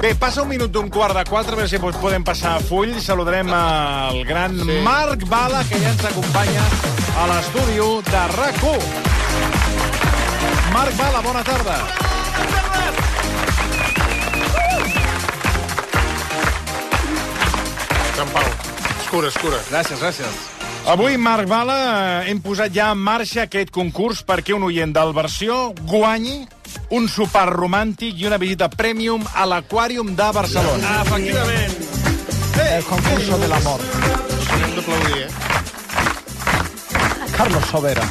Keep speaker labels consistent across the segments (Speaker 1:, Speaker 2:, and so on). Speaker 1: Bé, passa un minut d'un quart de quatre, a veure si doncs, podem passar a full. Saludarem al gran sí. Marc Bala, que ja ens acompanya a l'estudi de rac Marc Bala, bona tarda.
Speaker 2: Sant Pau. Escura, escura.
Speaker 1: Gràcies, gràcies. Avui, Marc Bala, eh, hem posat ja en marxa aquest concurs perquè un oient del versió guanyi un sopar romàntic i una visita premium a l'Aquàrium de Barcelona.
Speaker 2: Efectivament.
Speaker 3: Ah, El concurso del amor.
Speaker 2: Hem d'aplaudir, eh?
Speaker 3: Carlos Sobera.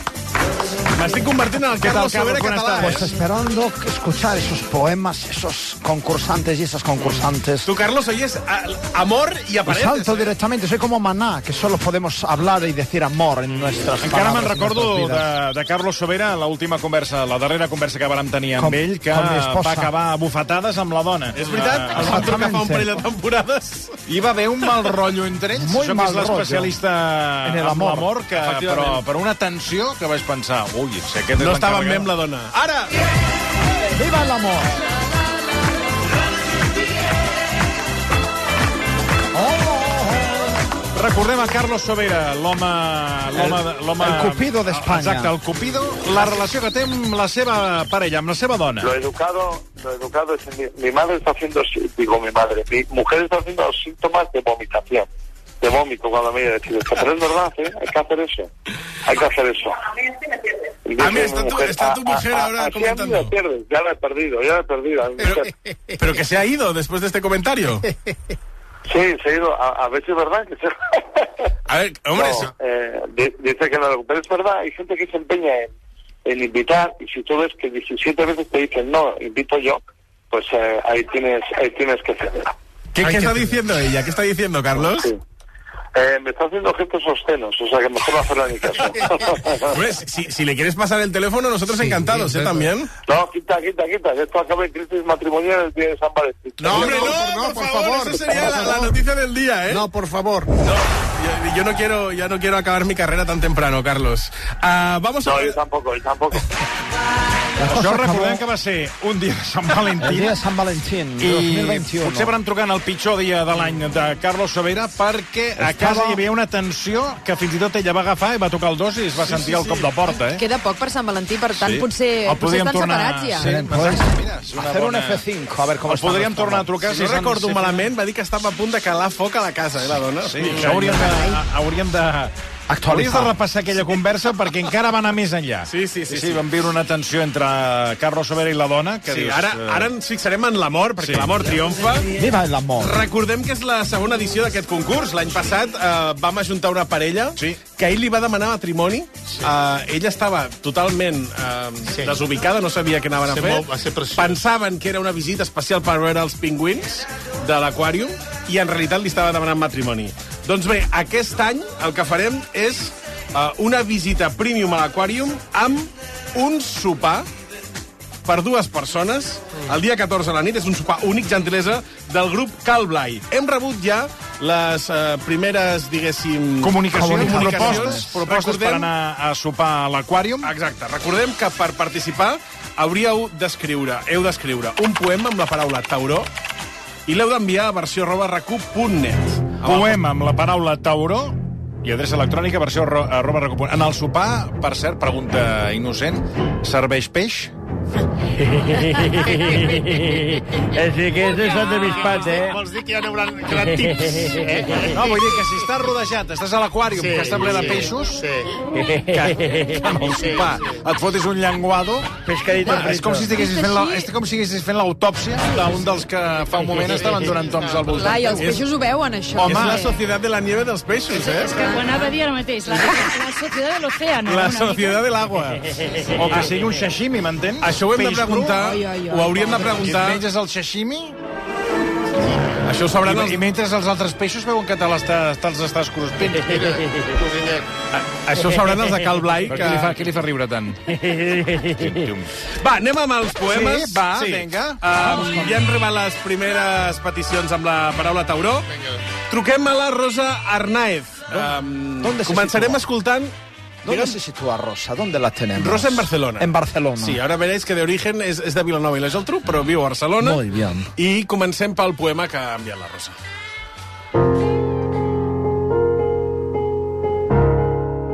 Speaker 1: M'estic convertint en el Carlos
Speaker 2: Carlos Sobera
Speaker 1: Sobera
Speaker 2: català,
Speaker 1: català.
Speaker 3: Pues
Speaker 2: eh?
Speaker 1: Estàs?
Speaker 3: esperando escuchar esos poemas, esos concursantes y esas concursantes.
Speaker 2: Tu, Carlos, hoy es a- amor y
Speaker 3: Pues
Speaker 2: aparentes.
Speaker 3: salto
Speaker 2: eh?
Speaker 3: directamente, soy como Maná, que solo podemos hablar y decir amor en nuestras
Speaker 1: Encara me'n
Speaker 3: palabras, en
Speaker 1: recordo
Speaker 3: nuestras
Speaker 1: de,
Speaker 3: vidas.
Speaker 1: de Carlos Sobera, l'última conversa, la darrera conversa que vàrem tenir amb
Speaker 3: Com-
Speaker 1: ell, que
Speaker 3: com mi
Speaker 1: va
Speaker 3: esposa.
Speaker 1: acabar a bufetades amb la dona.
Speaker 2: És veritat?
Speaker 1: Eh,
Speaker 2: El vam trucar fa un
Speaker 3: Exactamente.
Speaker 2: parell de temporades.
Speaker 1: Hi va haver un mal rotllo entre ells,
Speaker 3: Muy
Speaker 1: això que
Speaker 3: mal
Speaker 1: és l'especialista
Speaker 3: rotllo. En el
Speaker 1: amb
Speaker 3: amor.
Speaker 1: l'amor, que-
Speaker 2: Efectivament.
Speaker 1: però per una tensió que vaig pensar, ui, si aquest és
Speaker 2: No estava
Speaker 1: l'encarregat.
Speaker 2: amb mi amb la dona. Ara!
Speaker 3: ¡Viva el amor!
Speaker 1: Recordem a Carlos Sobera, l'home... l'home de- l'home-
Speaker 3: el Cupido d'Espanya.
Speaker 1: Exacte, el Cupido, la relació que té amb la seva parella, amb la seva dona.
Speaker 4: Lo educado, lo educado es mi, mi madre está haciendo, sí- digo mi madre, mi mujer está haciendo los síntomas de vomitación, de vómito cuando me decir esto, pero es verdad, ¿eh? hay que hacer eso, hay que hacer eso. Y dice
Speaker 2: Ah, mira,
Speaker 4: mi
Speaker 2: está tu-
Speaker 4: mujer,
Speaker 2: está tu
Speaker 4: "Ah,
Speaker 2: mujer
Speaker 4: ah,
Speaker 2: ahora
Speaker 4: ah, sí, a mí
Speaker 2: comentando".
Speaker 4: la pierdes, ya la he perdido, ya la he perdido. a mi
Speaker 2: Pero,
Speaker 4: mujer.
Speaker 2: pero que se ha ido después de este comentario.
Speaker 4: Sí, se ha ido, a, a ver si es verdad que se...
Speaker 2: A ver, hombre,
Speaker 4: No,
Speaker 2: se-
Speaker 4: eh, di- dice que no lo Pero es verdad, hay gente que se empeña en, en invitar y si tú ves que 17 veces te dicen no, invito yo, pues eh, ahí tienes ahí tienes que ceder.
Speaker 2: ¿qué, qué está diciendo ella? ¿Qué está diciendo, Carlos?
Speaker 4: Sí. Eh, me está haciendo gestos obscenos, o sea que mejor no hacerle ni caso.
Speaker 2: Hombre, Pues, si, si le quieres pasar el teléfono, nosotros encantados, ¿eh? También.
Speaker 4: no, quita, quita, quita, que esto acaba en crisis matrimonial el día de San Valentín.
Speaker 2: hombre, no, por, favor, Eso sería la, la noticia del día, ¿eh?
Speaker 5: No, por favor.
Speaker 2: No, yo, yo no quiero, ya no quiero acabar mi carrera tan temprano, Carlos. Ah, vamos a
Speaker 4: No, yo tampoco, yo tampoco.
Speaker 3: La cosa
Speaker 1: Això
Speaker 3: acabó
Speaker 1: recordem que va ser un dia de Sant
Speaker 3: el
Speaker 1: Valentí
Speaker 3: día de San Valentín,
Speaker 1: i
Speaker 3: 2021.
Speaker 1: potser van trucar en el pitjor dia de l'any de Carlos Sobera perquè a casa hi havia una tensió que fins i tot ella va agafar i va tocar el dos i es va sentir el cop de porta, eh?
Speaker 6: Queda poc per Sant Valentí, per tant,
Speaker 1: Sí.
Speaker 6: potser,
Speaker 1: El
Speaker 6: potser
Speaker 1: podríem
Speaker 6: Eh, estan
Speaker 1: tornar-
Speaker 6: separats ja.
Speaker 1: Sí.
Speaker 3: Miren, pues,
Speaker 1: Mira, és una
Speaker 3: hacer un
Speaker 1: bona-
Speaker 3: F5, a ver cómo
Speaker 1: El
Speaker 3: están
Speaker 1: podríem
Speaker 3: los
Speaker 1: tornar a
Speaker 3: campos.
Speaker 1: trucar
Speaker 2: Si no
Speaker 1: s'han-
Speaker 2: recordo malament, va dir que estava a punt de calar foc a la casa, eh, la dona?
Speaker 1: Sí, això hauríem de, hauríem de... Hauries
Speaker 3: Actualitzar.
Speaker 1: de repassar aquella conversa perquè encara va anar més enllà.
Speaker 2: Sí, sí,
Speaker 1: Sí,
Speaker 2: sí, sí.
Speaker 1: vam viure una tensió entre Carlos Sobera i la dona, que
Speaker 2: Sí,
Speaker 1: dius...
Speaker 2: ara,
Speaker 1: eh,
Speaker 2: ara ens fixarem en l'amor, perquè
Speaker 1: Sí.
Speaker 2: l'amor triomfa.
Speaker 3: ¡Viva el amor!
Speaker 2: Recordem que és la segona edició d'aquest concurs. L'any passat eh, vam ajuntar una parella
Speaker 1: Sí.
Speaker 2: que ell li va demanar matrimoni. Sí. Eh, ella estava totalment eh, sí. desubicada, no sabia què anaven a
Speaker 5: ser
Speaker 2: fer.
Speaker 5: molt- va ser preciós.
Speaker 2: Pensaven que era una visita especial per veure els pingüins de l'aquàrium i en realitat li estava demanant matrimoni. Doncs bé, aquest any el que farem és eh, una visita premium a l'aquàrium amb un sopar per dues persones. El dia 14 a la nit és un sopar únic gentilesa del grup Cal Blai. Hem rebut ja les eh, primeres, diguéssim...
Speaker 1: Comunicacions,
Speaker 2: comunicacions. eh?
Speaker 1: propostes, propostes
Speaker 2: Recordem-
Speaker 1: per anar a sopar a l'aquàrium.
Speaker 2: Exacte. Recordem que per participar hauríeu d'escriure, heu d'escriure un poema amb la paraula tauró i l'heu d'enviar a versió arroba recup.net.
Speaker 1: Poema amb la paraula tauró i adreça electrònica versió arro- arroba recupo- En el sopar, per cert, pregunta innocent, serveix peix?
Speaker 7: Así que eso es de mis pads, eh?
Speaker 5: Vols dir que ja n'haurà gran tips, eh?
Speaker 1: No, vull dir que si estàs rodejat, estàs a l'aquàrium, sí, que està ple de
Speaker 5: sí,
Speaker 1: peixos, sí.
Speaker 5: Sí.
Speaker 1: que en el sopar et fotis un llenguado...
Speaker 7: Pescadito
Speaker 1: Bueno, és com si estiguessis fent la-
Speaker 6: Així.
Speaker 1: és com si estiguessis fent l'autòpsia d'un dels que fa un moment estaven donant toms al
Speaker 6: Clar,
Speaker 1: voltant.
Speaker 6: i els peixos ho veuen, això.
Speaker 1: Home, eh?
Speaker 2: És la
Speaker 6: Sí.
Speaker 2: societat de la nieve dels peixos, eh?
Speaker 8: que ho anava a dir ara mateix, la, la societat de l'oceano.
Speaker 2: La
Speaker 8: una mica.
Speaker 2: societat de l'agua.
Speaker 1: O que sigui un sashimi, m'entens?
Speaker 2: Això ho hem de
Speaker 1: Peix cru,
Speaker 2: preguntar,
Speaker 6: Ai, ai, ai,
Speaker 2: ho hauríem de
Speaker 1: Qui
Speaker 2: preguntar...
Speaker 1: et menges el sashimi
Speaker 2: Això ho sabran
Speaker 1: i,
Speaker 2: els...
Speaker 1: i mentre els altres peixos veuen que te l'estàs te estàs cruspint.
Speaker 2: Això ho sabran els de Cal Blai,
Speaker 1: Però
Speaker 2: que...
Speaker 1: què, li fa, què li fa riure tant?
Speaker 2: Va, anem amb els poemes.
Speaker 1: Sí, va, vinga.
Speaker 2: Um, ja hem arribat les primeres peticions amb la paraula tauró. Truquem a la Rosa Arnaez. Um,
Speaker 3: d'on se
Speaker 2: començarem
Speaker 3: situa?
Speaker 2: escoltant
Speaker 3: ¿Dónde
Speaker 2: Vieron-
Speaker 3: se sitúa Rosa? ¿Dónde la tenemos?
Speaker 2: Rosa en Barcelona.
Speaker 3: En Barcelona.
Speaker 2: Sí, ara veréis que d'origen és, és de Vilanova i la Geltrú, però viu a Barcelona.
Speaker 3: Muy bien.
Speaker 2: I comencem pel poema que ha enviat la Rosa.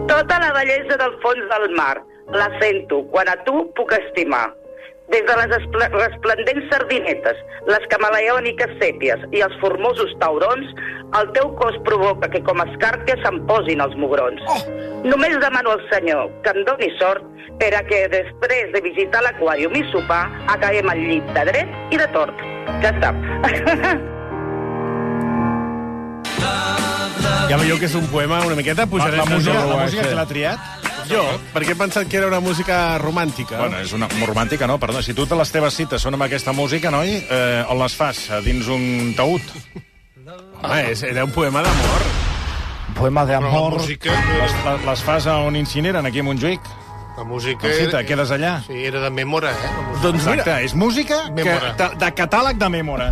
Speaker 9: Tota la bellesa del fons del mar la sento quan a tu puc estimar. Des de les espl- resplendents sardinetes, les camaleòniques sèpies i els formosos taurons, el teu cos provoca que com escàrpies se'n posin els mugrons. Oh. Només demano al senyor que em doni sort per a que després de visitar l'aquàrium i sopar acabem al llit de dret i de tort. Ja està.
Speaker 2: Ja veieu que és un poema una miqueta...
Speaker 1: La,
Speaker 2: Pujarem
Speaker 1: la música,
Speaker 2: del
Speaker 1: la
Speaker 2: nou a
Speaker 1: música
Speaker 2: set.
Speaker 1: que l'ha triat?
Speaker 2: Jo, perquè he pensat que era una música romàntica.
Speaker 1: Bueno, és una romàntica, no? Perdó, si tu te les teves cites són amb aquesta música, noi, eh, on les fas? A Dins un taüt?
Speaker 2: Home, és, era un poema d'amor.
Speaker 3: Poema de
Speaker 5: Però la
Speaker 3: amor.
Speaker 5: música...
Speaker 1: Les,
Speaker 5: Era,
Speaker 1: les- les fas a on incineren, aquí a Montjuïc?
Speaker 5: la música...
Speaker 1: Que, cita,
Speaker 5: era-
Speaker 1: quedes allà?
Speaker 5: Sí, era de memora, eh? La música.
Speaker 2: Doncs mira,
Speaker 1: Exacte, és música que,
Speaker 5: Memora.
Speaker 1: de, de catàleg de memora.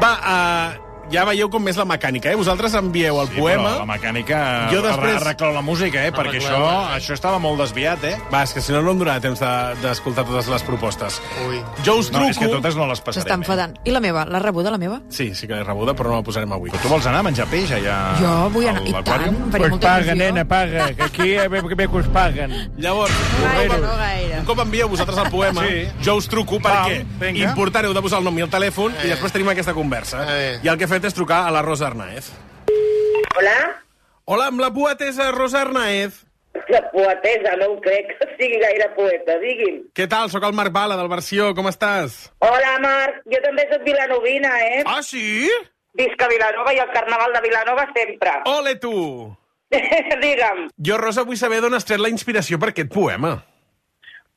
Speaker 2: va, uh, ja veieu com és la mecànica, eh? Vosaltres envieu el
Speaker 1: Sí,
Speaker 2: poema...
Speaker 1: però la mecànica jo
Speaker 2: Jo després-
Speaker 1: després... arregla la música, eh? Perquè això,
Speaker 5: Arregla-la.
Speaker 1: això estava molt desviat, eh?
Speaker 2: Va, és que si no, no em donarà temps de- d'escoltar de, totes les propostes.
Speaker 5: Ui.
Speaker 2: Jo us
Speaker 1: No,
Speaker 2: truco...
Speaker 1: és que totes no les
Speaker 6: S'està
Speaker 1: passarem. eh.
Speaker 6: enfadant. I la meva? L'ha rebuda, la meva?
Speaker 2: Sí, sí que l'he rebuda, però no la posarem avui.
Speaker 1: Eh? Tu vols anar a menjar peix allà?
Speaker 6: Jo vull anar.
Speaker 1: a
Speaker 6: I tant,
Speaker 1: l'aquàrium?
Speaker 6: em faria
Speaker 7: Pues
Speaker 6: molta
Speaker 7: paga,
Speaker 6: il·lusió.
Speaker 7: nena, paga, que aquí a veure bé que us paguen.
Speaker 2: Llavors,
Speaker 6: No gaire,
Speaker 2: un
Speaker 6: no
Speaker 2: cop-
Speaker 6: gaire.
Speaker 2: un cop envieu vosaltres el poema, sí.
Speaker 1: Sí.
Speaker 2: jo us truco perquè
Speaker 1: vinga.
Speaker 2: important heu de posar el nom i el telèfon i
Speaker 5: Eh.
Speaker 2: després tenim aquesta conversa.
Speaker 5: Eh.
Speaker 2: I el que he fet és trucar a la Rosa Arnaez.
Speaker 9: Hola?
Speaker 2: Hola, amb la poetesa Rosa Arnaez.
Speaker 9: La poetesa, no ho crec que sigui gaire poeta, digui'm.
Speaker 2: Què tal? Sóc el Marc Bala, del Versió. Com estàs?
Speaker 9: Hola, Marc, jo també sóc vilanovina, eh?
Speaker 2: Ah, sí?
Speaker 9: Visca Vilanova i el carnaval de Vilanova sempre.
Speaker 2: Ole, tu!
Speaker 9: Digue'm,
Speaker 2: Jo, Rosa, vull saber d'on has tret la inspiració per aquest poema.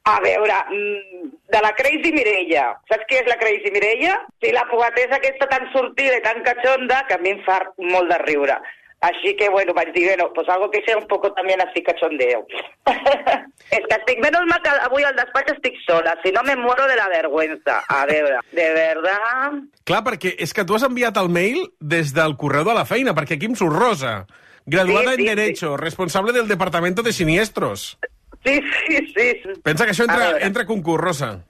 Speaker 9: a veure, mm, de la Crazy Mireia. Saps qui és la Crazy Mireia? Sí, la poetesa aquesta tan sortida i tan cachonda que a mi em fa molt de riure. Així que, bueno, vaig dir, bueno, pues algo que sea un poco también así cachondeo. es que estic, menos mal que avui al despatx estic sola, si no me muero de la vergüenza. A veure, de verdad...
Speaker 2: Clar, perquè és que tu has enviat el mail des del correu de la feina, perquè aquí em surt Rosa, graduada
Speaker 9: Sí, sí,
Speaker 2: en Derecho, responsable del Departamento de Siniestros.
Speaker 9: Sí, sí, sí.
Speaker 2: Pensa que això
Speaker 9: A
Speaker 2: entra,
Speaker 9: veure.
Speaker 2: entra concurs, Rosa.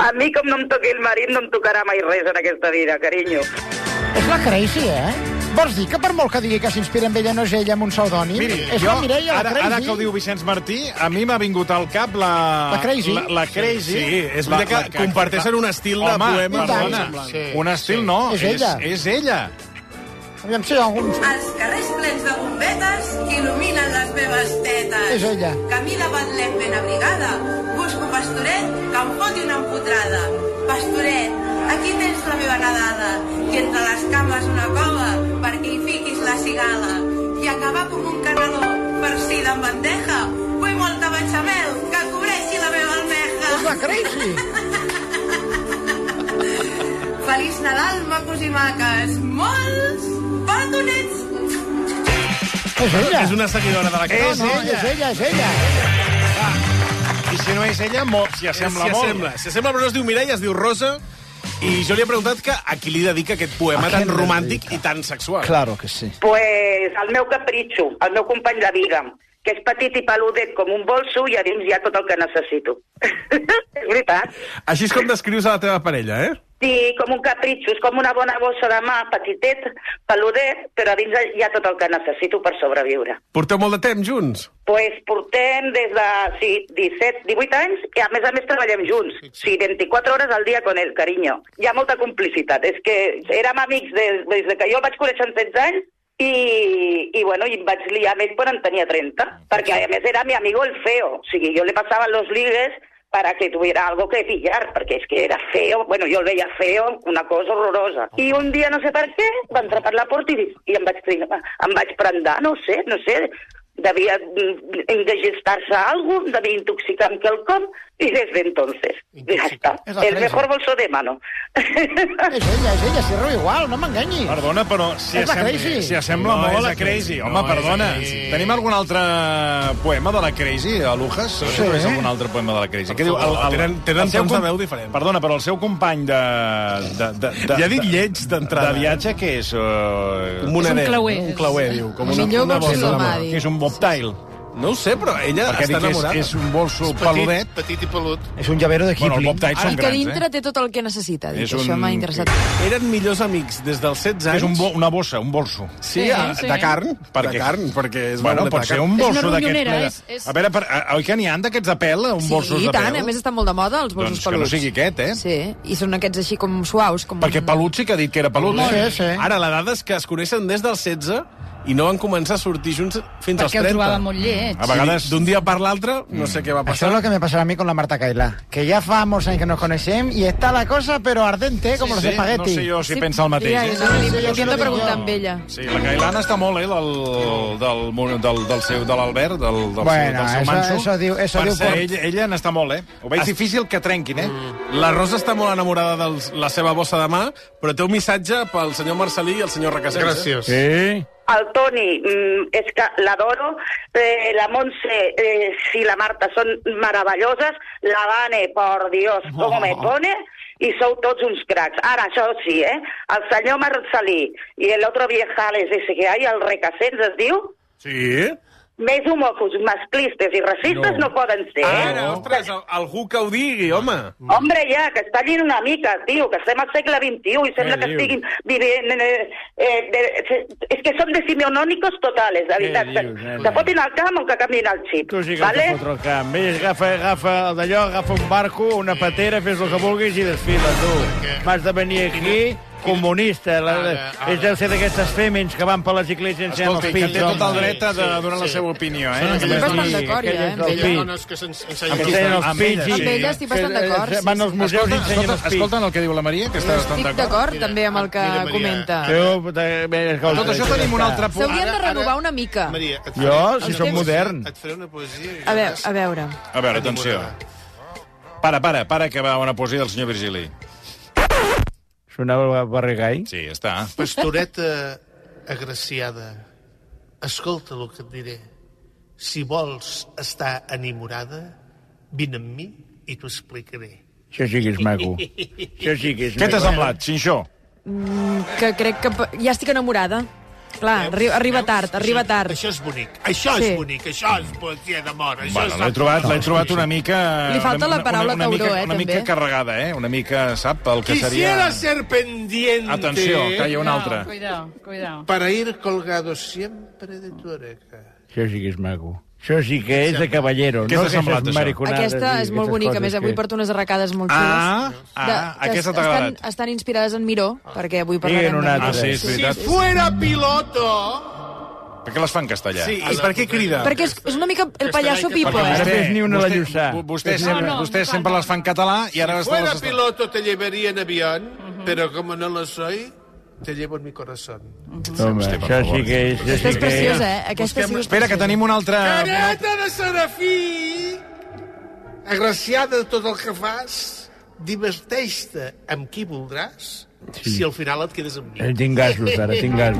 Speaker 9: A mi, com no em toqui el marit, no em tocarà mai res en aquesta vida, carinyo.
Speaker 10: És la Crazy, eh? Vols dir que per molt que digui que s'inspira en ella no és ella amb un pseudònim?
Speaker 1: Miri,
Speaker 10: és
Speaker 1: jo,
Speaker 10: la Mireia, la
Speaker 1: ara,
Speaker 10: Crazy.
Speaker 1: ara que ho diu Vicenç Martí, a mi m'ha vingut al cap la...
Speaker 10: La Crazy?
Speaker 1: La, la crazy.
Speaker 2: Sí, sí, és veritat que comparteixen un estil de
Speaker 1: Home, Home,
Speaker 2: poema
Speaker 1: perdona,
Speaker 10: molt
Speaker 1: sí,
Speaker 5: semblant.
Speaker 1: un estil no,
Speaker 10: És ella.
Speaker 1: És, és ella.
Speaker 10: Aviam si hi ha algun...
Speaker 9: Els carrers plens de bombetes que il·luminen les meves tetes.
Speaker 10: És ella.
Speaker 9: Camí davant l'hem ben abrigada. Busco pastoret que em foti una empotrada. Pastoret, aquí tens la meva nadada. I entre les cames una cova perquè hi fiquis la cigala. I acabar com un caneló farcida en bandeja. Vull molta bechamel que cobreixi la meva almeja.
Speaker 10: És la Crazy.
Speaker 9: Feliç Nadal, macos i maques. Molts petonets.
Speaker 10: És ella.
Speaker 2: És una seguidora de la
Speaker 10: No,
Speaker 2: Crazy.
Speaker 10: no, és ella, és ella.
Speaker 1: I si no és ella, mo, s'hi assembla
Speaker 2: S'hi
Speaker 1: molt.
Speaker 2: Eh, assembla, s'hi assembla, però no es diu Mireia, es diu Rosa. I jo li he preguntat que a qui li dedica aquest poema
Speaker 3: A
Speaker 2: tan
Speaker 3: qui li
Speaker 2: romàntic
Speaker 3: dedica?
Speaker 2: i tan sexual.
Speaker 3: Claro que sí.
Speaker 9: Pues el meu capritxo, el meu company de vida, que és petit i peludet com un bolso i a dins hi ha tot el que necessito. és veritat.
Speaker 2: Així és com descrius a la teva parella, eh?
Speaker 9: Sí, com un capritxo, és com una bona bossa de mà, petitet, peludet, però a dins hi ha tot el que necessito per sobreviure.
Speaker 2: Porteu molt de temps junts?
Speaker 9: Pues portem des de sí, 17, 18 anys i a més a més treballem junts. Sí, 24 hores al dia con el carinyo. Hi ha molta complicitat. És que érem amics des, des de que jo el vaig conèixer amb 16 anys i, i bueno, i em vaig liar més quan en tenia 30, perquè a més era mi amigo el feo. O sigui, jo le pasaba los ligues para que tuviera algo que pillar, porque es que era feo, bueno, yo lo veía feo, una cosa horrorosa. Y un día, no sé per què, va entrar per la porta i, dic- i em, vaig, tri- em vaig prendar, no ho sé, no ho sé, devia mm, engestar-se alguna cosa, devia intoxicar amb quelcom, Y desde entonces, ya está.
Speaker 10: Es la
Speaker 9: El
Speaker 10: fresa.
Speaker 9: mejor bolso de mano.
Speaker 10: És ella, és ella, Sirro, igual, no m'enganyi.
Speaker 1: Perdona, però si,
Speaker 10: És la
Speaker 1: assem...
Speaker 10: Crazy.
Speaker 1: si assembla
Speaker 2: No,
Speaker 1: molt
Speaker 2: és
Speaker 1: a
Speaker 2: la
Speaker 1: la Crazy.
Speaker 2: Crazy.
Speaker 1: Home,
Speaker 2: No, és la
Speaker 1: perdona.
Speaker 2: Crazy.
Speaker 1: Tenim algun altre poema de la Crazy, a Lujas? Sí. És algun altre poema de la Crazy? Què diu?
Speaker 2: favor, tenen- tenen
Speaker 1: el seu
Speaker 2: tons de
Speaker 1: com-
Speaker 2: veu diferents.
Speaker 1: Perdona, però el seu company de... de, de, de
Speaker 2: Ja dic
Speaker 1: de-
Speaker 2: lleig d'entrada.
Speaker 1: De viatge, què és? Uh...
Speaker 2: Un
Speaker 8: És
Speaker 2: moneder.
Speaker 8: un clauer.
Speaker 2: Un clauer, diu. Com una,
Speaker 6: Millor
Speaker 2: una
Speaker 6: que
Speaker 2: bossa de mà.
Speaker 6: Silomadi.
Speaker 1: Que és un bobtail.
Speaker 2: No ho sé, però ella
Speaker 1: Perquè
Speaker 2: està
Speaker 1: dic que és,
Speaker 2: enamorada.
Speaker 1: és un bolso
Speaker 5: Petit,
Speaker 1: peludet.
Speaker 5: petit i pelut.
Speaker 3: És un llavero de
Speaker 1: Bueno, els
Speaker 3: Kipling.
Speaker 1: bobtails són
Speaker 6: I que
Speaker 1: grans,
Speaker 6: dintre
Speaker 1: eh?
Speaker 6: té tot el que necessita. Dic,
Speaker 1: És
Speaker 6: Això
Speaker 1: un-
Speaker 6: m'ha interessat.
Speaker 2: Eren millors amics des dels 16 anys.
Speaker 1: És un bo, una bossa, un bolso.
Speaker 2: Sí,
Speaker 8: Sí,
Speaker 2: ah, a,
Speaker 8: sí.
Speaker 2: de carn.
Speaker 1: Perquè-
Speaker 2: De carn, perquè és
Speaker 1: bueno,
Speaker 2: una
Speaker 1: pot
Speaker 2: de
Speaker 1: ser
Speaker 2: carn.
Speaker 1: un
Speaker 8: És una
Speaker 1: bolso d'aquests.
Speaker 8: ronyonera,
Speaker 1: ple de-
Speaker 8: és- és-
Speaker 1: A veure, per, a- oi que n'hi ha d'aquests de pèl, un bolsos
Speaker 6: sí,
Speaker 1: de
Speaker 6: i tant.
Speaker 1: pèl?
Speaker 6: A més, estan molt de moda, els bolsos
Speaker 1: Doncs que no
Speaker 6: peluts.
Speaker 1: sigui aquest, eh?
Speaker 6: Sí, i són aquests així com suaus. Com...
Speaker 1: Perquè pelut sí que ha dit que era pelut,
Speaker 10: Sí,
Speaker 1: eh?
Speaker 10: sí.
Speaker 2: Ara, la dada és que es coneixen des dels 16 i no van començar a sortir junts fins als
Speaker 8: Perquè ho
Speaker 2: 30.
Speaker 8: trobava molt lleig.
Speaker 1: A vegades... Mm.
Speaker 2: D'un dia per l'altre, no sé què va
Speaker 10: Això
Speaker 2: passar.
Speaker 10: és lo que me pasará a mí con la Marta Cailà, que ya fa molts anys que nos coneixem y está la cosa pero ardente, como los
Speaker 1: Sí,
Speaker 10: espaguetis.
Speaker 1: No sé jo si sí, pensa el mateix.
Speaker 6: Ja,
Speaker 1: eh?
Speaker 6: ja, ja, ja,
Speaker 10: jo
Speaker 6: ja,
Speaker 10: se
Speaker 6: ja,
Speaker 10: lo
Speaker 6: de
Speaker 10: dic
Speaker 6: preguntar
Speaker 10: jo.
Speaker 6: amb ella.
Speaker 1: Sí, la Cailana està molt, eh, del, del, del, del, del seu, de l'Albert, del, del, seu,
Speaker 10: Bueno,
Speaker 1: del seu
Speaker 10: eso-
Speaker 1: manso.
Speaker 10: eso diu- eso
Speaker 1: per
Speaker 10: diu
Speaker 1: cert,
Speaker 10: por-
Speaker 1: ell, ella n'està molt, eh? Ho veig
Speaker 2: Es-
Speaker 1: difícil que trenquin, eh?
Speaker 2: Mm. La Rosa està molt enamorada de la seva bossa de mà, però té un missatge pel senyor Marcelí i el senyor Requesens. eh?
Speaker 5: Gràcies. Eh?
Speaker 7: Sí?
Speaker 9: El Toni, mm, és que l'adoro, eh, la Montse eh, i la Marta són meravelloses, la Vane, por Dios, com me
Speaker 10: Oh.
Speaker 9: pone, i sou tots uns cracs. Ara, això sí, eh? El senyor Marcelí i el otro viejales ese que hay, el Recasens es diu,
Speaker 2: Sí?
Speaker 9: més homòfobs, masclistes i racistes no, poden ser, eh?
Speaker 2: Ara, ostres, al- algú que ho digui, home.
Speaker 9: Hombre, ja, que es tallin una mica, tio, que estem al segle XXI i sembla que
Speaker 2: diu?
Speaker 9: estiguin vivint... Eh, eh, de, se- és que són de simeonònicos totales, de veritat.
Speaker 7: dius,
Speaker 9: Se,
Speaker 7: nena?
Speaker 9: se fotin al camp o que canviïn el xip,
Speaker 7: Tu sí que
Speaker 9: vale?
Speaker 7: vale. fotre el camp. Ves, agafa, agafa el d'allò, agafa un barco, una patera, fes el que vulguis i desfila, tu. M'has de venir aquí comunista. La, la,
Speaker 5: Ara, ara.
Speaker 7: és deu ser d'aquestes fèmens que van per les esglésies ensenyant els
Speaker 1: Escolta, que
Speaker 7: pits.
Speaker 1: té tot el
Speaker 7: home.
Speaker 1: dret a de
Speaker 5: Sí,
Speaker 1: donar la
Speaker 5: sí.
Speaker 1: seva opinió, eh? Amb
Speaker 5: Són aquelles
Speaker 6: Estic bastant
Speaker 5: dones-
Speaker 6: d'acord, ja, eh, amb
Speaker 5: Aquelles
Speaker 7: Sí.
Speaker 6: ella.
Speaker 5: dones que
Speaker 7: Que
Speaker 1: Amb
Speaker 5: s'ensenyen...
Speaker 7: ensenyen els
Speaker 1: Amb ella,
Speaker 7: pits. i-
Speaker 1: sí.
Speaker 6: Amb ella estic bastant
Speaker 7: que-
Speaker 6: d'acord, sí,
Speaker 7: eh, Van als
Speaker 6: sí.
Speaker 7: museus i
Speaker 1: Escolta,
Speaker 7: ensenyen
Speaker 1: escolta,
Speaker 7: els pits.
Speaker 1: escolta el que diu la Maria, que està bastant
Speaker 6: Estic
Speaker 1: d'acord.
Speaker 6: d'acord també amb el que
Speaker 5: mira, Maria.
Speaker 6: comenta.
Speaker 7: Jo, eh, bé, escolta,
Speaker 1: Tot això tenim un altre punt.
Speaker 6: S'haurien de
Speaker 5: Ara, ara-
Speaker 6: renovar una mica.
Speaker 5: Maria, et
Speaker 7: Jo, si
Speaker 5: una
Speaker 7: sóc
Speaker 5: poesia-
Speaker 7: modern.
Speaker 5: Et faré una poesia... i
Speaker 6: A veure,
Speaker 5: veuràs
Speaker 6: a veure.
Speaker 1: A veure, atenció. Para, para, para, que va una poesia del senyor Virgili.
Speaker 7: Sonava el Barrigall.
Speaker 1: Sí, està.
Speaker 5: Pastoreta agraciada, escolta el que et diré. Si vols estar enamorada, vine amb mi i t'ho explicaré.
Speaker 7: Això sí que és maco. Això sí que és
Speaker 1: Què t'ha
Speaker 7: maco.
Speaker 1: semblat, Xinxó?
Speaker 6: Mm, Que crec que... p- Ja estic enamorada. Clar, arri arriba
Speaker 5: Veus?
Speaker 6: tard, arriba
Speaker 5: Això-
Speaker 6: tard.
Speaker 5: Això és bonic, això
Speaker 6: Sí.
Speaker 5: és bonic, això és poesia d'amor. això
Speaker 1: Bueno,
Speaker 5: és
Speaker 1: l'he trobat, l'he trobat una mica...
Speaker 6: Li falta la
Speaker 1: una-
Speaker 6: paraula
Speaker 1: una, una, mica-
Speaker 6: tauró, eh,
Speaker 1: Una mica
Speaker 6: també.
Speaker 1: carregada, eh? Una mica, sap, el que
Speaker 5: Quisiera
Speaker 1: seria...
Speaker 5: ser pendiente
Speaker 1: Atenció, que hi ha una altra.
Speaker 8: Cuidao, cuidao.
Speaker 5: para ir colgado siempre de tu oreja.
Speaker 7: Això sí que és maco. Això sí que és de cavallero.
Speaker 1: Què t'ha
Speaker 7: no
Speaker 1: semblat,
Speaker 7: aquestes
Speaker 1: això?
Speaker 7: mariconades
Speaker 6: Aquesta
Speaker 7: i
Speaker 6: és molt
Speaker 7: aquestes
Speaker 6: bonica, a
Speaker 7: coses
Speaker 6: més avui
Speaker 7: que-
Speaker 6: porto unes arracades molt
Speaker 1: Ah,
Speaker 6: xules.
Speaker 1: ah,
Speaker 6: que
Speaker 1: aquesta t'ha
Speaker 6: estan-
Speaker 1: agradat.
Speaker 6: Estan inspirades en Miró, perquè avui
Speaker 7: Digue'n
Speaker 6: parlarem
Speaker 7: una
Speaker 6: de
Speaker 7: altra.
Speaker 1: Ah,
Speaker 6: Miró.
Speaker 1: sí, és veritat.
Speaker 5: Fuera piloto!
Speaker 1: Per què les fan en castellà?
Speaker 2: Sí, i per què crida?
Speaker 6: Perquè és, és una mica el pallasso Pipo,
Speaker 1: Perquè
Speaker 6: eh?
Speaker 7: Ara fes ni una
Speaker 1: vostè,
Speaker 7: la Lluçà.
Speaker 1: vo- Vostès,
Speaker 7: Fes
Speaker 8: ni
Speaker 1: sempre,
Speaker 8: una.
Speaker 1: vostès sempre les fan en català i ara... les-
Speaker 5: Fuera
Speaker 1: les-
Speaker 5: piloto te llevaría en avión, pero como no lo soy, te llevo en mi corazón.
Speaker 7: Home, això sí que és...
Speaker 6: Aquesta
Speaker 7: Això sí
Speaker 6: és
Speaker 7: que és...
Speaker 6: preciosa, eh? Aquesta sí
Speaker 1: Busquem-
Speaker 6: que és
Speaker 1: Espera, que tenim una altra...
Speaker 5: Careta de Serafí! Agraciada de tot el que fas, diverteix-te amb qui voldràs si al final et quedes amb mi.
Speaker 7: Eh, Tinc gasos, ara, tinc gasos.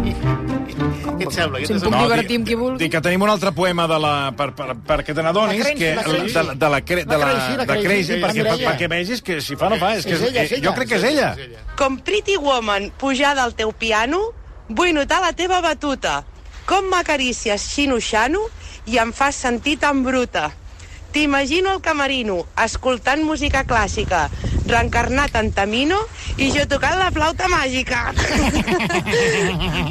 Speaker 5: Què et sembla?
Speaker 6: Si em puc
Speaker 1: No,
Speaker 6: divertir amb
Speaker 1: di-
Speaker 6: qui vulgui.
Speaker 1: Dic que tenim un altre poema de la, per, per, perquè te n'adonis
Speaker 10: La Crazy,
Speaker 1: que
Speaker 10: la Crazy.
Speaker 1: de, de la, cre- de la,
Speaker 10: Crazy, la
Speaker 1: de
Speaker 10: Crazy,
Speaker 1: Crazy,
Speaker 10: sí,
Speaker 1: perquè,
Speaker 10: sí,
Speaker 1: per,
Speaker 10: ella.
Speaker 1: perquè vegis que si fa no fa, és que
Speaker 10: És ella, és
Speaker 1: jo
Speaker 10: ella.
Speaker 1: crec que és ella.
Speaker 11: Com Pretty Woman pujada al teu piano, vull notar la teva batuta. Com m'acaricies xino-xano i em fas sentir tan bruta. T'imagino al camerino, escoltant música clàssica, reencarnat en Tamino i jo tocant la flauta màgica.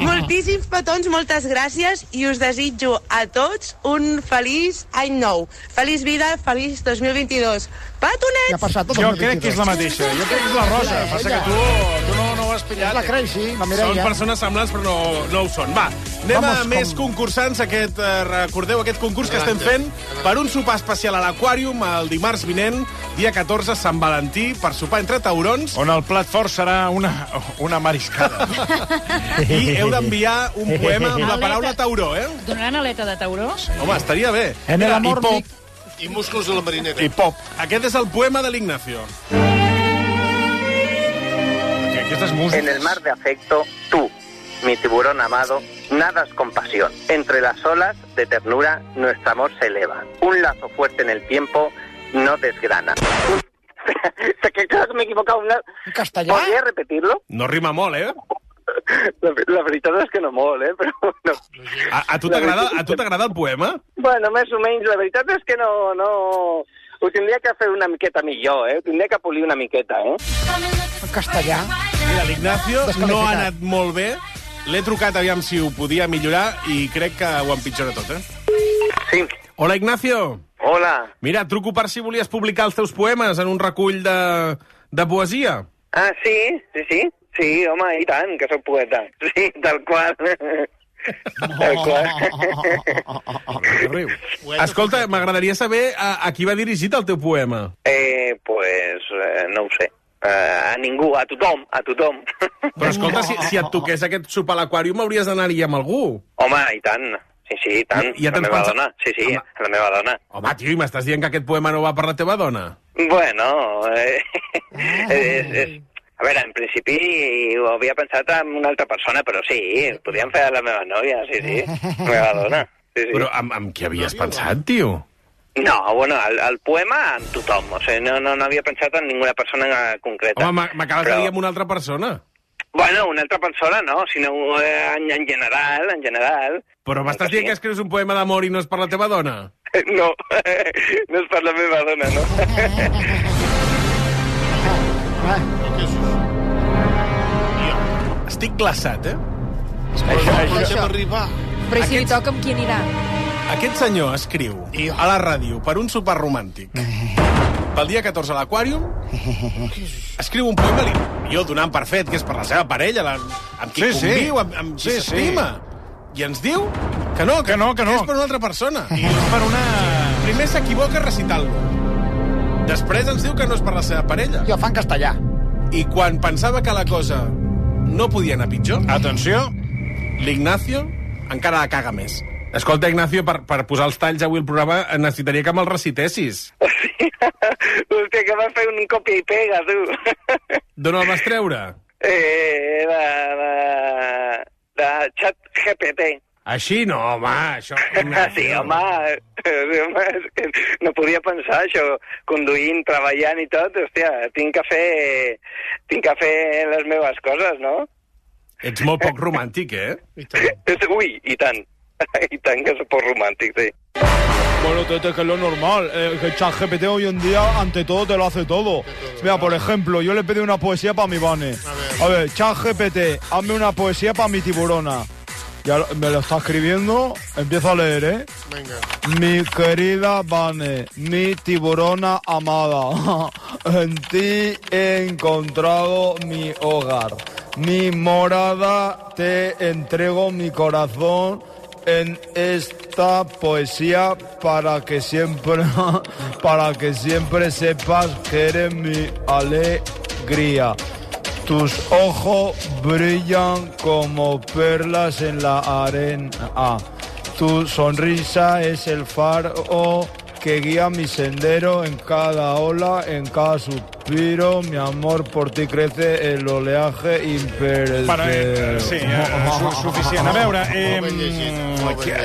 Speaker 11: Moltíssims petons, moltes gràcies i us desitjo a tots un feliç any nou. Feliç vida, feliç 2022. Petonets!
Speaker 10: Ja ha passat tot el
Speaker 1: Jo
Speaker 10: 2022.
Speaker 1: crec que és la mateixa. eh? Jo crec que és la Rosa. Passa que tu, tu no, no ho has
Speaker 10: És
Speaker 1: pillat. eh?
Speaker 10: la Crazy, la
Speaker 2: Són
Speaker 10: Mireia.
Speaker 2: persones semblants, però no, no ho són. Va, anem
Speaker 10: Vamos,
Speaker 2: Vamos, a més
Speaker 10: com-
Speaker 2: concursants. Aquest, eh, recordeu aquest concurs que estem fent per un sopar especial a l'Aquàrium el dimarts vinent, dia 14, Sant Valentí, per sopar entre taurons.
Speaker 1: On el plat fort serà una, una mariscada.
Speaker 2: I heu d'enviar un poema amb la
Speaker 8: Aleta.
Speaker 2: paraula tauró, eh?
Speaker 8: Donaran aleta de tauró?
Speaker 2: Home, estaria bé.
Speaker 7: En el
Speaker 2: Mira,
Speaker 7: amor
Speaker 2: i pop,
Speaker 7: mic-
Speaker 5: I músculs de la marinera.
Speaker 2: I pop. Aquest és el poema de l'Ignacio.
Speaker 12: En el mar de afecto, tú, mi tiburón amado, nadas con pasión. Entre las olas de ternura, nuestro amor se eleva. Un lazo fuerte en el tiempo no desgrana. que creo que me he equivocado. Una...
Speaker 3: castellà?
Speaker 12: ¿Podría repetirlo?
Speaker 2: No rima molt, eh?
Speaker 12: La, la veritat és que no molt, eh? Però no.
Speaker 2: A, a tu t'agrada a tu t'agrada el poema?
Speaker 12: Bueno, més o menys, la veritat és que no... no... Ho tindria que fer una miqueta millor, eh? Ho tindria que polir una miqueta, eh?
Speaker 3: En castellà.
Speaker 2: Mira, l'Ignacio no ha anat molt bé. L'he trucat aviam si ho podia millorar i crec que ho empitjora tot, eh?
Speaker 12: Sí.
Speaker 2: Hola, Ignacio.
Speaker 12: Hola.
Speaker 2: Mira, et truco per si volies publicar els teus poemes en un recull de, de poesia.
Speaker 12: Ah, sí, sí, sí. Sí, home, i tant, que sóc poeta. Sí, tal qual. tal qual.
Speaker 2: Riu. Escolta, m'agradaria saber eh, a, a qui va dirigit el teu poema.
Speaker 12: eh, pues, eh, no ho sé. Eh, a ningú, a tothom, a tothom.
Speaker 2: Però escolta, si, si et toqués aquest sopar a l'aquàrium hauries d'anar-hi amb algú.
Speaker 12: Home, i tant. Sí, sí, i tant.
Speaker 2: Ja
Speaker 12: la
Speaker 2: tens
Speaker 12: meva
Speaker 2: pensat-
Speaker 12: dona. Sí, sí, la meva dona.
Speaker 2: Home, Ah, tio, i m'estàs dient que aquest poema no va per la teva dona?
Speaker 12: Bueno, eh,
Speaker 2: Ah.
Speaker 12: és, és, a veure, en principi ho havia pensat en una altra persona, però sí, podíem fer a la meva nòvia, sí, sí, la meva dona. Sí, sí.
Speaker 2: Però amb, amb qui havies pensat, tio?
Speaker 12: No, bueno, el, el poema amb tothom, o sigui, no, no, no havia pensat en ninguna persona concreta.
Speaker 2: Home, m'a- m'acabes de dir amb una altra persona.
Speaker 12: Bueno, una altra persona no, sinó eh, en, en general, en general.
Speaker 2: Però m'estàs dient que escrius un poema d'amor i no és per la teva dona?
Speaker 12: Eh, No, no és per la meva dona, no.
Speaker 2: Estic glaçat, eh?
Speaker 5: Però no
Speaker 2: això-
Speaker 5: podem arribar.
Speaker 6: Però i si li toca, amb qui anirà?
Speaker 2: Aquest senyor escriu a la ràdio per un sopar romàntic. Pel dia 14 a l'Aquàrium, escriu un poema, li- jo donant per fet que és per la seva parella, la, amb qui
Speaker 1: Sí, sí.
Speaker 2: conviu, amb, amb qui
Speaker 1: Sí, sí.
Speaker 2: s'estima. I ens diu que no, que, que no, que no. és per una altra persona. I és per una... Primer s'equivoca recitant-lo. Després ens diu que no és per la seva parella.
Speaker 3: Jo fan castellà.
Speaker 2: I quan pensava que la cosa no podia anar pitjor... Atenció! L'Ignacio encara la caga més. Escolta, Ignacio, per, per posar els talls avui al programa eh, necessitaria que me'l recitessis.
Speaker 12: Hòstia, que va fer un còpia i pega, tu.
Speaker 2: D'on el vas treure?
Speaker 12: Eh, de, de, de xat GPT.
Speaker 2: Així no, home, això...
Speaker 12: Sí, home, eh, sí, home, és que no podia pensar això, conduint, treballant i tot, hòstia, tinc que fer, tinc que fer les meves coses, no?
Speaker 2: Ets molt poc romàntic, eh?
Speaker 12: És- Ui, i tant, i tant que soc poc romàntic, sí.
Speaker 7: Bueno, Tete, que es lo normal. Eh, que ChatGPT hoy en día, ante todo, te lo hace todo. Mira, por ejemplo, yo le pedí una poesía para mi Vane. A ver, ChatGPT, hazme una poesía para mi tiburona. Ya lo- me lo está escribiendo, empiezo a leer, ¿eh?
Speaker 5: Vinga.
Speaker 7: Mi querida Vane, mi tiburona amada, en ti he encontrado mi hogar, mi morada, te entrego mi corazón en esta poesía para que siempre, para que siempre sepas que eres mi alegría. Tus ojos brillan como perlas en la arena. Ah, Tu sonrisa es el faro que guía mi sendero en cada ola, en cada suspiro. Mi amor por ti crece el oleaje imperdible.
Speaker 1: Para, eh, sí, eh, su, suficient. A veure, eh,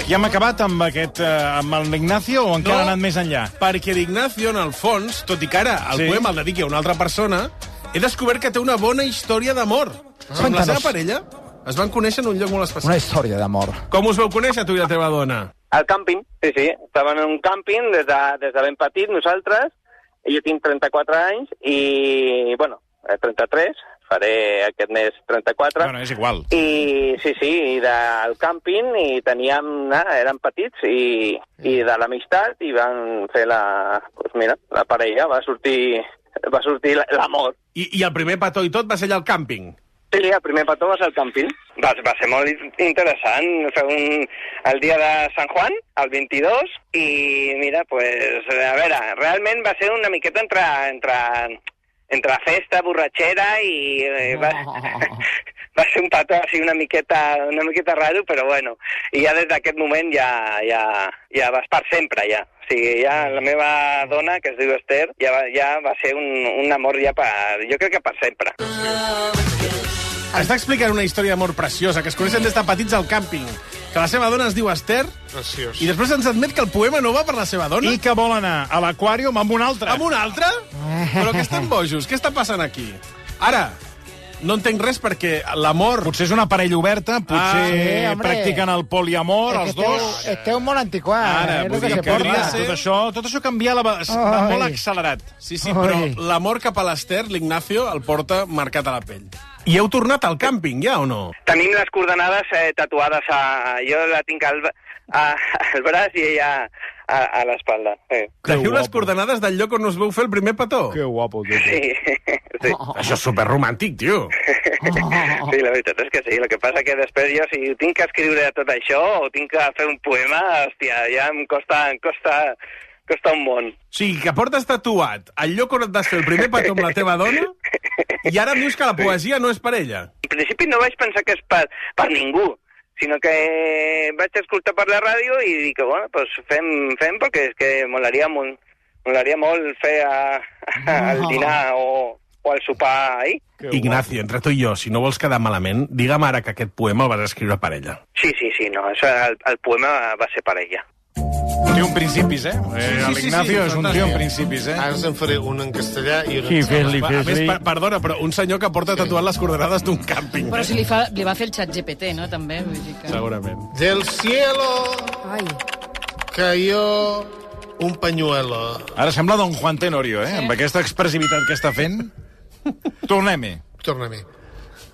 Speaker 1: ja hem acabat amb aquest, eh, amb l'Ignacio o encara no. ha anat més enllà?
Speaker 2: Perquè l'Ignacio, en el fons, tot i que ara el
Speaker 1: Sí.
Speaker 2: sí. poema el dediqui a una altra persona, he descobert que té una bona història d'amor. Ah. Amb la
Speaker 3: Cuéntanos.
Speaker 2: seva parella es van conèixer en un lloc molt especial.
Speaker 3: Una història d'amor.
Speaker 2: Com us vau conèixer, tu i la teva dona?
Speaker 12: Al càmping, sí, sí. Estàvem en un càmping des de, des de ben petit, nosaltres. Jo tinc 34 anys i, bueno, eh, 33, faré aquest mes 34.
Speaker 1: Bueno, és igual.
Speaker 12: I sí, sí, i del càmping i teníem, ah, érem petits i, i de l'amistat i van fer la, pues mira, la parella, va sortir, va sortir la- l'amor.
Speaker 2: I, I el primer petó i tot va ser allà al càmping.
Speaker 12: Sí, el primer petó va ser el càmping. Va, va ser molt in- interessant fer un, el dia de Sant Juan, el 22, i mira, pues, a veure, realment va ser una miqueta entre, entre, entre festa, borratxera i eh, va, va ser un petó així una miqueta, una miqueta raro, però bueno, i ja des d'aquest moment ja, ja, ja vas per sempre, ja. O sigui, ja la meva dona, que es diu Esther, ja va, ja va ser un, un amor ja per... Jo crec que per sempre.
Speaker 2: Està explicant una història d'amor preciosa, que es coneixen des de petits al càmping, que la seva dona es diu Esther,
Speaker 5: Preciós.
Speaker 2: i després ens admet que el poema no va per la seva dona.
Speaker 1: I que vol anar a l'aquàrium amb un altre.
Speaker 2: Amb un altre? Però que estan bojos, què està passant aquí? Ara, no entenc res perquè l'amor...
Speaker 1: Potser és una parella oberta, potser
Speaker 10: Ah, sí,
Speaker 1: ah,
Speaker 10: hombre.
Speaker 1: practiquen el poliamor, els
Speaker 10: Esteu,
Speaker 1: dos...
Speaker 10: esteu molt antiquat.
Speaker 2: Ah,
Speaker 1: Ara,
Speaker 10: eh,
Speaker 2: pues
Speaker 1: vull
Speaker 10: que
Speaker 1: dir
Speaker 10: se
Speaker 1: que podria
Speaker 10: porta.
Speaker 1: ser... Tot això, tot això canvia la... va molt accelerat.
Speaker 2: Sí, sí, però
Speaker 1: Ai.
Speaker 2: l'amor cap a l'Ester, l'Ignacio, el porta marcat a la pell. I heu tornat al càmping, ja o no?
Speaker 12: Tenim les coordenades eh, tatuades a... Jo la tinc al, a, al braç i ella a, a l'espalda. Sí.
Speaker 2: Teniu les coordenades del lloc on us veu fer el primer petó? Que
Speaker 7: guapo,
Speaker 2: tio.
Speaker 12: Sí. sí.
Speaker 2: Això és superromàntic, tio.
Speaker 12: Sí, la veritat és que sí. El que passa que després jo, si tinc que escriure tot això o tinc que fer un poema, hòstia, ja em costa, em costa, costa un món.
Speaker 2: O sigui, que portes tatuat el lloc on et vas fer el primer petó amb la teva dona i ara em dius que la poesia no és per ella.
Speaker 12: En principi no vaig pensar que és per, per ningú, sinó que vaig escoltar per la ràdio i dic que, bueno, pues fem, fem perquè és que molaria molt, molaria molt fer a, a, el dinar o, o el sopar ahir.
Speaker 2: Ignacio, entre tu i jo, si no vols quedar malament, digue'm ara que aquest poema el vas escriure per ella.
Speaker 12: Sí, sí, sí, no, això, el, el poema va ser per ella.
Speaker 1: Té un principis, eh? eh sí, sí, L'Ignacio sí, sí, és un tio amb principis, eh?
Speaker 5: Ara en faré un en castellà i un
Speaker 1: Sí,
Speaker 5: en
Speaker 1: fes-li,
Speaker 5: català.
Speaker 2: A més, per, perdona, però un senyor que porta tatuat les coordenades d'un càmping.
Speaker 8: Però si li, fa, li va fer el xat GPT, no, també? Vull dir que...
Speaker 2: Segurament.
Speaker 5: Del cielo Ai. cayó un pañuelo.
Speaker 1: Ara sembla Don Juan Tenorio, eh? Sí. Amb aquesta expressivitat que està fent. Tornem-hi.
Speaker 5: Torna-m'hi,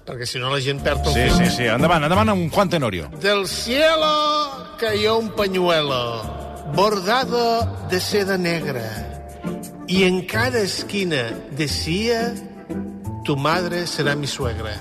Speaker 5: perquè si no la gent perd el
Speaker 1: Sí,
Speaker 5: fil.
Speaker 1: sí, sí. Endavant, endavant amb Juan Tenorio.
Speaker 5: Del cielo cayó un pañuelo bordado de seda negra y en cada esquina decía tu madre será mi suegra.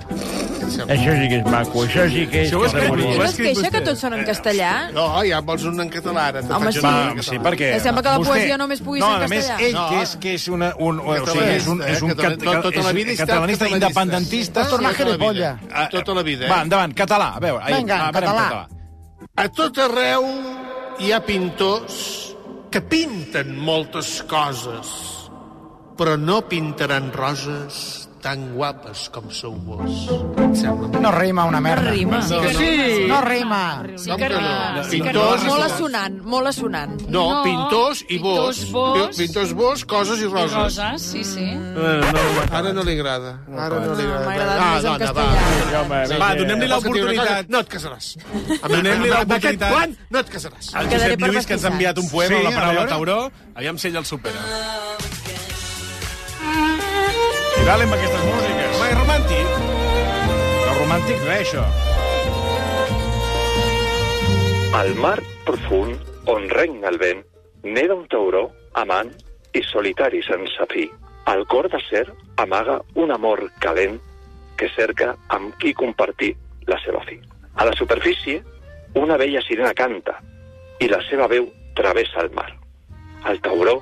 Speaker 13: Això sí que és maco, això sí que és...
Speaker 5: Això ho ha escrit-
Speaker 13: que
Speaker 5: ho
Speaker 6: No
Speaker 5: ha
Speaker 13: bonica.
Speaker 6: es queixa que tots
Speaker 5: Eh,
Speaker 6: són en castellà?
Speaker 5: No, ja vols un en català, ara.
Speaker 6: Home, sí. Va, sí, perquè- Em sembla que la poesia només pugui
Speaker 1: no,
Speaker 6: ser en
Speaker 1: a més,
Speaker 6: castellà.
Speaker 1: ell,
Speaker 6: No.
Speaker 1: que és, que és, una, un, o sigui,
Speaker 5: Catalanista,
Speaker 1: és un, és un
Speaker 5: eh? Catalan-
Speaker 1: cat-
Speaker 5: tota la
Speaker 1: és
Speaker 5: vida ha estat
Speaker 1: catalanista
Speaker 5: catalanista.
Speaker 1: independentista.
Speaker 5: Vas tornar Tota la gilipolles. vida.
Speaker 1: Ah,
Speaker 5: Tota la vida, eh?
Speaker 1: Va, endavant, català. A veure, ahí, ah,
Speaker 5: Vinga,
Speaker 1: a veure,
Speaker 5: català. A tot arreu hi ha pintors que pinten moltes coses, però no pintaran roses tan guapes com sou vos. Et sembla?
Speaker 10: No rima una merda.
Speaker 5: No rima. Sí que
Speaker 10: Sí.
Speaker 5: no.
Speaker 10: No rima.
Speaker 5: Sí que no.
Speaker 6: Sí, que no.
Speaker 5: Pintors-
Speaker 6: Molt assonant, molt assonant.
Speaker 5: No, no, pintors i vos.
Speaker 6: pintors, vos.
Speaker 5: Pintors, vos, coses i roses.
Speaker 8: Roses, sí, sí.
Speaker 5: Ara no li agrada. Ara no li agrada.
Speaker 8: m'agrada
Speaker 5: Ah,
Speaker 8: més en
Speaker 5: dona,
Speaker 8: castellà.
Speaker 5: va. Sí,
Speaker 2: Va,
Speaker 5: sí.
Speaker 2: donem-li
Speaker 5: Vols que et digui una
Speaker 2: l'oportunitat.
Speaker 5: cosa? No et casaràs.
Speaker 2: Donem-li
Speaker 5: Amb- amb aquest
Speaker 2: l'oportunitat.
Speaker 5: plan no et casaràs.
Speaker 2: El Josep Lluís, que ens ha enviat un poema, sí, la paraula
Speaker 1: veure.
Speaker 2: tauró, aviam si ell el supera.
Speaker 1: I dale amb aquestes músiques.
Speaker 2: Home, és romàntic.
Speaker 1: Però romàntic res, això.
Speaker 14: Al mar profund, on regna el vent, neda un tauró amant i solitari sense fi. Al cor de ser amaga un amor calent que cerca amb qui compartir la seva fi. A la superfície, una vella sirena canta i la seva veu travessa el mar. El tauró,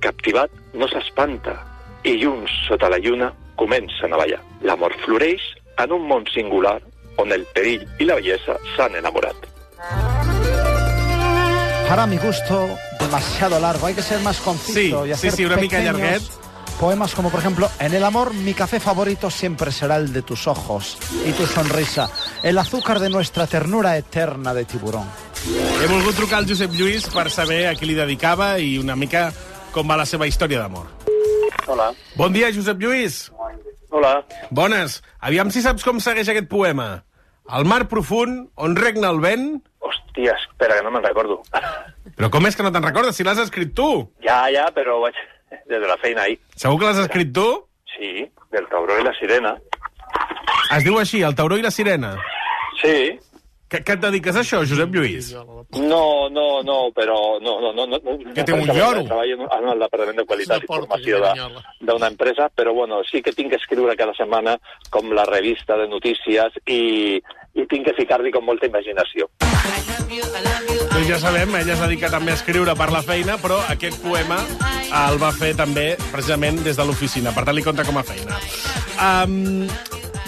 Speaker 14: captivat, no s'espanta i llums sota la lluna comencen a ballar. L'amor floreix en un món singular on el perill i la bellesa s'han enamorat.
Speaker 3: Para mi gusto, demasiado largo. Hay que ser más conciso
Speaker 2: Sí,
Speaker 3: y
Speaker 2: sí,
Speaker 3: hacer
Speaker 2: sí, una mica
Speaker 3: pequeños
Speaker 2: llarguet.
Speaker 3: Poemas como, por ejemplo, En el amor, mi café favorito siempre será el de tus ojos y tu sonrisa. El azúcar de nuestra ternura eterna de tiburón.
Speaker 2: He volgut trucar al Josep Lluís per saber a qui li dedicava i una mica com va la seva història d'amor.
Speaker 4: Hola.
Speaker 2: Bon dia, Josep Lluís.
Speaker 4: Hola.
Speaker 2: Bones. Aviam si saps com segueix aquest poema. Al mar profund, on regna el vent...
Speaker 4: Hòstia, espera, que no me'n recordo.
Speaker 2: Però com és que no te'n recordes si l'has escrit tu?
Speaker 4: Ja, ja, però vaig des de la feina ahir.
Speaker 2: Segur que l'has escrit tu?
Speaker 4: Sí, del tauró i la sirena.
Speaker 2: Es diu així, el tauró i la sirena.
Speaker 4: Sí.
Speaker 2: Que, que et dediques a això, Josep Lluís?
Speaker 4: No, no, no, però... No, no, no, no, no
Speaker 2: Que té un lloro.
Speaker 4: Treballo en- en el Departament de Qualitat i Formació de- d'una empresa, però bueno, sí que tinc que escriure cada setmana com la revista de notícies i, i tinc que ficar-li com molta imaginació.
Speaker 2: Doncs ja sabem, ella es dedica també a escriure per la feina, però aquest poema el va fer també precisament des de l'oficina, per tant li compta com a feina. Um,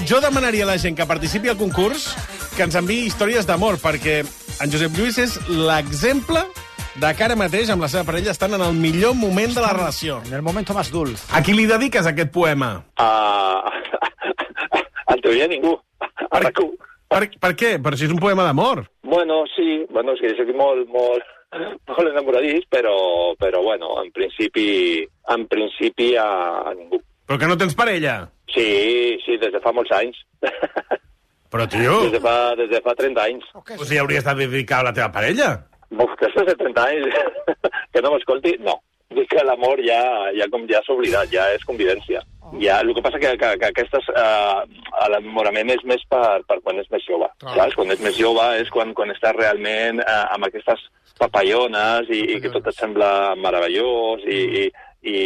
Speaker 2: jo demanaria a la gent que participi al concurs que ens enviï històries d'amor, perquè en Josep Lluís és l'exemple de cara mateix amb la seva parella estan en el millor moment de la relació. En
Speaker 3: el moment més dolç.
Speaker 2: A qui li dediques aquest poema?
Speaker 14: A... en teoria ningú.
Speaker 2: Per, per, per què? Per si és un poema d'amor.
Speaker 14: Bueno, sí, bueno, és que jo soc molt, molt, molt enamoradís, però, però bueno, en principi, en principi a, a ningú.
Speaker 2: Però que no tens parella.
Speaker 14: Sí, sí, des de fa molts anys.
Speaker 2: Però, tio...
Speaker 14: Des de fa, des de fa 30 anys.
Speaker 2: O sigui, hauries de dedicar a la teva parella.
Speaker 14: Uf, després de 30 anys, que no m'escolti, no. Dic que l'amor ja, ja, com ja s'ha oblidat, ja és convivència. Ja, el que passa que, que, que aquestes, eh, l'enamorament és més per, per quan és més jove. Saps? Quan és més jove és quan, quan estàs realment eh, amb aquestes papallones i, i que tot et sembla meravellós i, i, i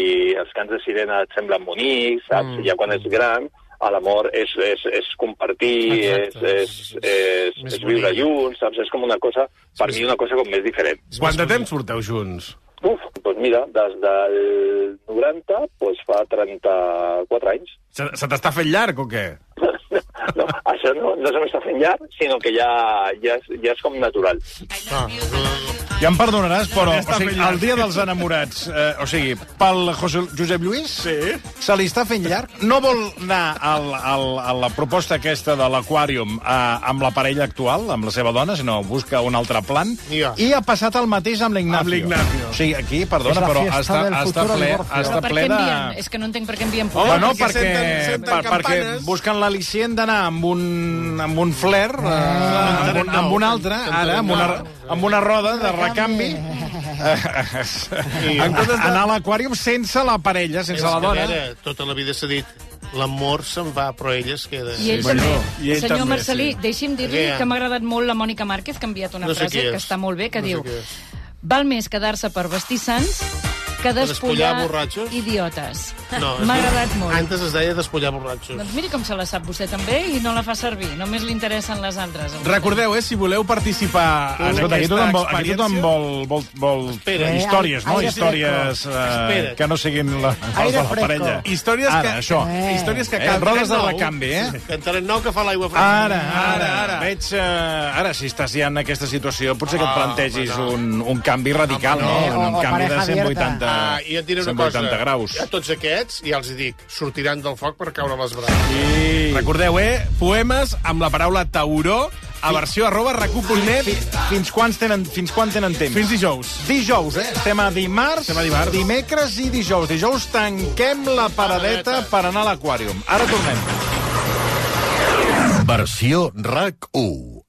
Speaker 14: els cants de sirena et semblen bonics, saps? Mm. Ja quan ets gran, a l'amor és, és, és compartir, és, és, és, és, viure junts, saps? És com una cosa, per mi una cosa com més diferent.
Speaker 2: Quant de temps porteu junts?
Speaker 14: Uf, doncs mira, des del 90, doncs fa 34 anys.
Speaker 2: Se, se t'està fent llarg o què?
Speaker 14: No, això no, no se m'està fent llarg, sinó que ja, ja, és, ja és com natural.
Speaker 1: Ah. Ja em perdonaràs, però o sigui, el dia dels enamorats, eh, o sigui, pel José, Josep Lluís, sí. se li està fent llarg? No vol anar al, al, a la proposta aquesta de l'Aquarium eh, amb la parella actual, amb la seva dona, sinó busca un altre plan,
Speaker 2: Ja.
Speaker 1: i ha passat el mateix amb l'Ignacio.
Speaker 2: Amb l'Ignacio.
Speaker 1: O sigui, aquí, perdona, però està, està ple,
Speaker 8: Però
Speaker 1: està
Speaker 8: per què
Speaker 1: ple de...
Speaker 8: envien? És que no entenc per què envien
Speaker 1: Home,
Speaker 8: poemes.
Speaker 1: no, perquè, per, perquè busquen l'al·licient d'anar amb un, amb un flair, eh, amb, un, amb un altre, ara, amb una, amb una roda de recanvi, eh, en comptes d'anar a l'aquàrium sense la parella, sense la dona.
Speaker 5: Vera, Ah, tota la vida s'ha dit, l'amor se'n va, però ella es queda.
Speaker 8: I ell també. Senyor Marcelí, deixi'm dir-li
Speaker 5: Què?
Speaker 8: que m'ha agradat molt la Mònica Márquez, que ha enviat una
Speaker 5: No sé qui
Speaker 8: frase
Speaker 5: és.
Speaker 8: que està molt bé, que
Speaker 5: No sé
Speaker 8: diu
Speaker 5: qui és.
Speaker 8: val més quedar-se per vestir sants que
Speaker 5: despullar
Speaker 8: despullar
Speaker 5: borratxos?"
Speaker 8: idiotes.
Speaker 5: No,
Speaker 8: M'ha
Speaker 5: és-
Speaker 8: agradat molt.
Speaker 5: Antes es deia despullar borratxos.
Speaker 8: Doncs miri com se la sap vostè també i no la fa servir. Només li interessen les altres.
Speaker 2: Recordeu, eh, si voleu participar en
Speaker 1: Escolta, aquí
Speaker 2: aquesta
Speaker 1: tothom vol, aquí
Speaker 2: experiència...
Speaker 1: tothom vol, vol, vol
Speaker 2: Espera. eh,
Speaker 1: històries, no?
Speaker 2: Aire
Speaker 1: Històries eh,
Speaker 2: Espera.
Speaker 1: que no siguin la, les de la parella.
Speaker 2: Històries
Speaker 1: Ara,
Speaker 2: que,
Speaker 1: això.
Speaker 2: Eh. Històries que
Speaker 1: Eh, rodes de recanvi, eh?
Speaker 5: Sí, Cantarem nou que fa l'aigua fresca.
Speaker 1: Ara, ara, ara. Veig, eh, ara, si estàs ja en aquesta situació, potser que et
Speaker 5: Ah,
Speaker 1: plantegis un, un canvi radical, no?
Speaker 5: Eh,
Speaker 1: Un
Speaker 5: o- o
Speaker 1: canvi de
Speaker 5: pareja
Speaker 1: 180,
Speaker 5: abierta. Ah, i et diré una
Speaker 1: 180
Speaker 5: cosa.
Speaker 1: graus.
Speaker 5: A tots aquests, ja els hi dic, sortiran del foc per caure a les braves.
Speaker 2: Sí. Recordeu, eh? Poemes amb la paraula tauró a versió arroba recu.net.
Speaker 1: Fins quants tenen, fins quan tenen temps?
Speaker 2: Fins dijous.
Speaker 1: Dijous, eh? Estem a dimarts,
Speaker 2: Estem a dimarts.
Speaker 1: dimecres i dijous. Dijous tanquem la paradeta per anar a l'aquàrium. Ara tornem.
Speaker 15: Versió RAC 1.